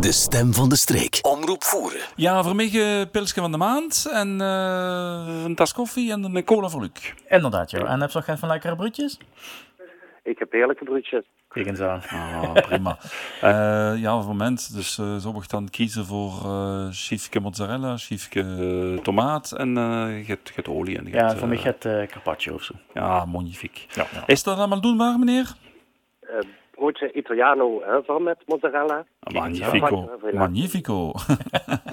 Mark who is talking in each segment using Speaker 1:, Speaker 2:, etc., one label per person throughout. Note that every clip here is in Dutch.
Speaker 1: De stem van de streek. Omroep voeren.
Speaker 2: Ja, voor mij eh pilsje van de maand en eh, een tas koffie en een cola voor Luc.
Speaker 3: Inderdaad, joh. En heb je nog geen van lekkere broodjes?
Speaker 4: Ik heb heerlijke broodjes.
Speaker 3: Kijk eens aan.
Speaker 2: Ah, prima. Eh, ja, voor moment. Dus eh zo mag ik dan kiezen voor eh chiefke mozzarella, chiefke eh, tomaat en eh, je hebt je hebt olie. En je hebt,
Speaker 3: Ja, voor
Speaker 2: eh,
Speaker 3: mij gaat eh carpaccio of zo.
Speaker 2: Ja, magnifiek.
Speaker 3: Ja, ja.
Speaker 2: Is dat allemaal doenbaar, meneer?
Speaker 4: Eh, broodje Italiano hè, van met mozzarella.
Speaker 2: Magnifico.
Speaker 4: Ja.
Speaker 2: Magnifico.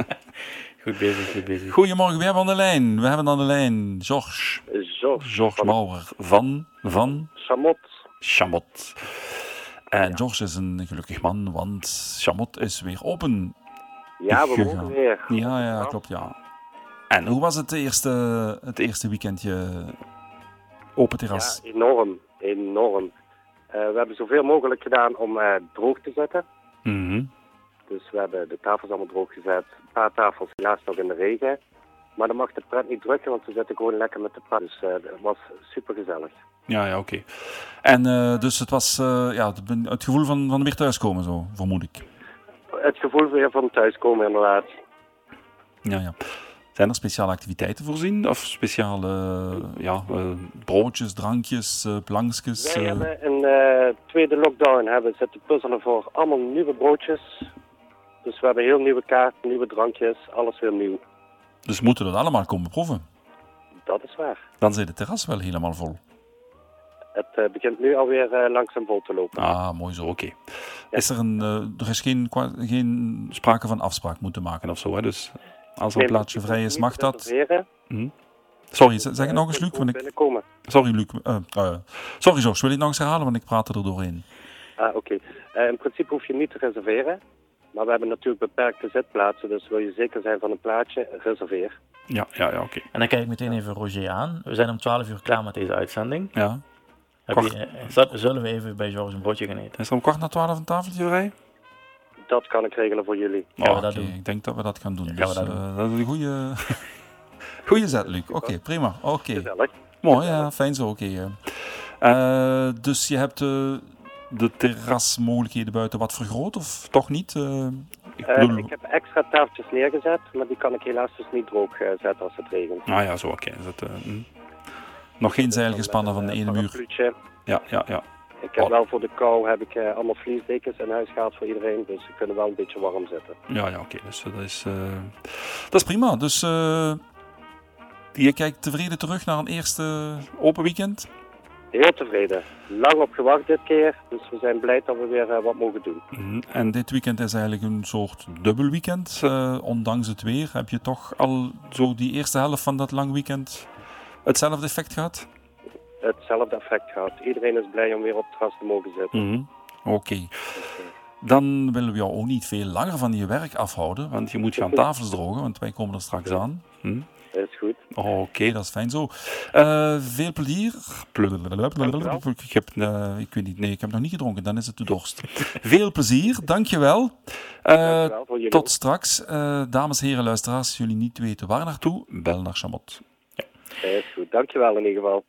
Speaker 3: Goed bezig, goed bezig.
Speaker 2: Goedemorgen, we hebben aan de lijn. We hebben aan de lijn Georges.
Speaker 4: Zo.
Speaker 2: Georges Maurer van, van
Speaker 4: Samot.
Speaker 2: Chamot. En Georges is een gelukkig man, want Chamot is weer open.
Speaker 4: Ja, we
Speaker 2: Ja.
Speaker 4: mogen weer.
Speaker 2: Ja, ja, klopt, ja. En hoe was het eerste, het eerste weekendje open terras?
Speaker 4: Ja, enorm. Enorm. Eh, we hebben zoveel mogelijk gedaan om eh, droog te zetten.
Speaker 2: Mhm.
Speaker 4: Dus we hebben de tafels allemaal droog gezet. Een paar tafels helaas nog in de regen. Maar dan mag de pret niet drukken, want we zitten gewoon lekker met de pret. Dus eh, het was super gezellig.
Speaker 2: Ja, ja, oké. En eh, dus het was eh, ja, het, het gevoel van, van weer thuiskomen, zo, vermoed ik.
Speaker 4: Het gevoel weer van thuiskomen inderdaad.
Speaker 2: Ja, ja. Zijn er speciale activiteiten voorzien? Of speciale eh, ja, eh, broodjes, drankjes, eh, plankjes?
Speaker 4: Wij
Speaker 2: eh?
Speaker 4: hebben in de tweede lockdown hebben we zitten puzzelen voor allemaal nieuwe broodjes. Dus we hebben heel nieuwe kaarten, nieuwe drankjes, alles weer nieuw.
Speaker 2: Dus moeten we dat allemaal komen proeven?
Speaker 4: Dat is waar.
Speaker 2: Dan zit het terras wel helemaal vol.
Speaker 4: Het eh, begint nu alweer eh, langzaam vol te lopen.
Speaker 2: Ah, mooi zo, oké. Is er, een, eh, er is geen, kwa- geen sprake van afspraak moeten maken of zo, hè? Dus als er een plaatsje vrij is, mag dat. Sorry, z- zeg het nog eens, Luc. Want ik...
Speaker 4: Eh, Binnenkomen.
Speaker 2: Sorry, Luc. eh, eh, sorry, George, wil je het nog eens herhalen? Want ik praat er doorheen.
Speaker 4: Ah, oké. Eh, in principe hoef je niet te reserveren. Maar we hebben natuurlijk beperkte zitplaatsen, dus wil je zeker zijn van een plaatsje, reserveer.
Speaker 2: Ja, ja, ja, oké.
Speaker 3: En dan kijk ik meteen even Roger aan. We zijn om 12 uur klaar met deze uitzending.
Speaker 2: Ja.
Speaker 3: Heb
Speaker 2: Wacht.
Speaker 3: je, eh, zal- zullen we even bij George een broodje gaan eten?
Speaker 2: Is er om kwart na twaalf een tafeltje vrij?
Speaker 4: Dat kan ik regelen voor jullie.
Speaker 3: Gaan we
Speaker 2: Oh,
Speaker 3: dat
Speaker 2: oké,
Speaker 3: doen?
Speaker 2: Ik denk dat we dat gaan doen.
Speaker 3: gaan we
Speaker 2: Dus,
Speaker 3: dat doen.
Speaker 2: eh, dat is een goede, goede zet, Luc. Oké, prima. Oké.
Speaker 4: Gezellig.
Speaker 2: Mooi, ja, fijn zo. Oké. eh.
Speaker 4: Ah.
Speaker 2: Eh, dus je hebt eh, de terrasmogelijkheden buiten wat vergroot of toch niet? Eh, ik
Speaker 4: Eh,
Speaker 2: bedoel-
Speaker 4: ik heb extra tafeltjes neergezet, maar die kan ik helaas dus niet droog eh, zetten als het regent.
Speaker 2: Ah ja, zo, oké. Is het, eh, hm. Nog geen zeil gespannen van de
Speaker 4: Eh,
Speaker 2: ene muur.
Speaker 4: parapluutje.
Speaker 2: Ja, ja, ja.
Speaker 4: Ik heb
Speaker 2: Oh.
Speaker 4: wel voor de kou heb ik eh, allemaal vliesdekens in huis gehaald voor iedereen, dus ze kunnen wel een beetje warm zitten.
Speaker 2: Ja, ja, oké. Dus eh, dat is, eh, dat is prima. Dus eh, je kijkt tevreden terug naar een eerste open weekend.
Speaker 4: Heel tevreden. Lang op gewacht dit keer, dus we zijn blij dat we weer eh, wat mogen doen.
Speaker 2: Mhm. En dit weekend is eigenlijk een soort dubbel weekend. Eh, ondanks het weer heb je toch al zo die eerste helft van dat lang weekend hetzelfde effect gehad?
Speaker 4: Hetzelfde effect gehad. Iedereen is blij om weer op het terras te mogen zitten.
Speaker 2: Oké. Dan willen we jou ook niet veel langer van je werk afhouden, want je moet gaan tafels drogen, want wij komen er straks aan. Hm?
Speaker 4: Is goed.
Speaker 2: Oké, dat is fijn zo. Eh, veel plezier. Ik heb, eh, ik weet niet, nee, ik heb nog niet gedronken, dan is het de dorst. Veel plezier, dankjewel. Eh
Speaker 4: Dankjewel voor jullie.
Speaker 2: tot straks. Eh, dames en heren, luisteraars, jullie niet weten waar naartoe, bel naar Chamot.
Speaker 4: Is goed. Dankjewel in ieder geval.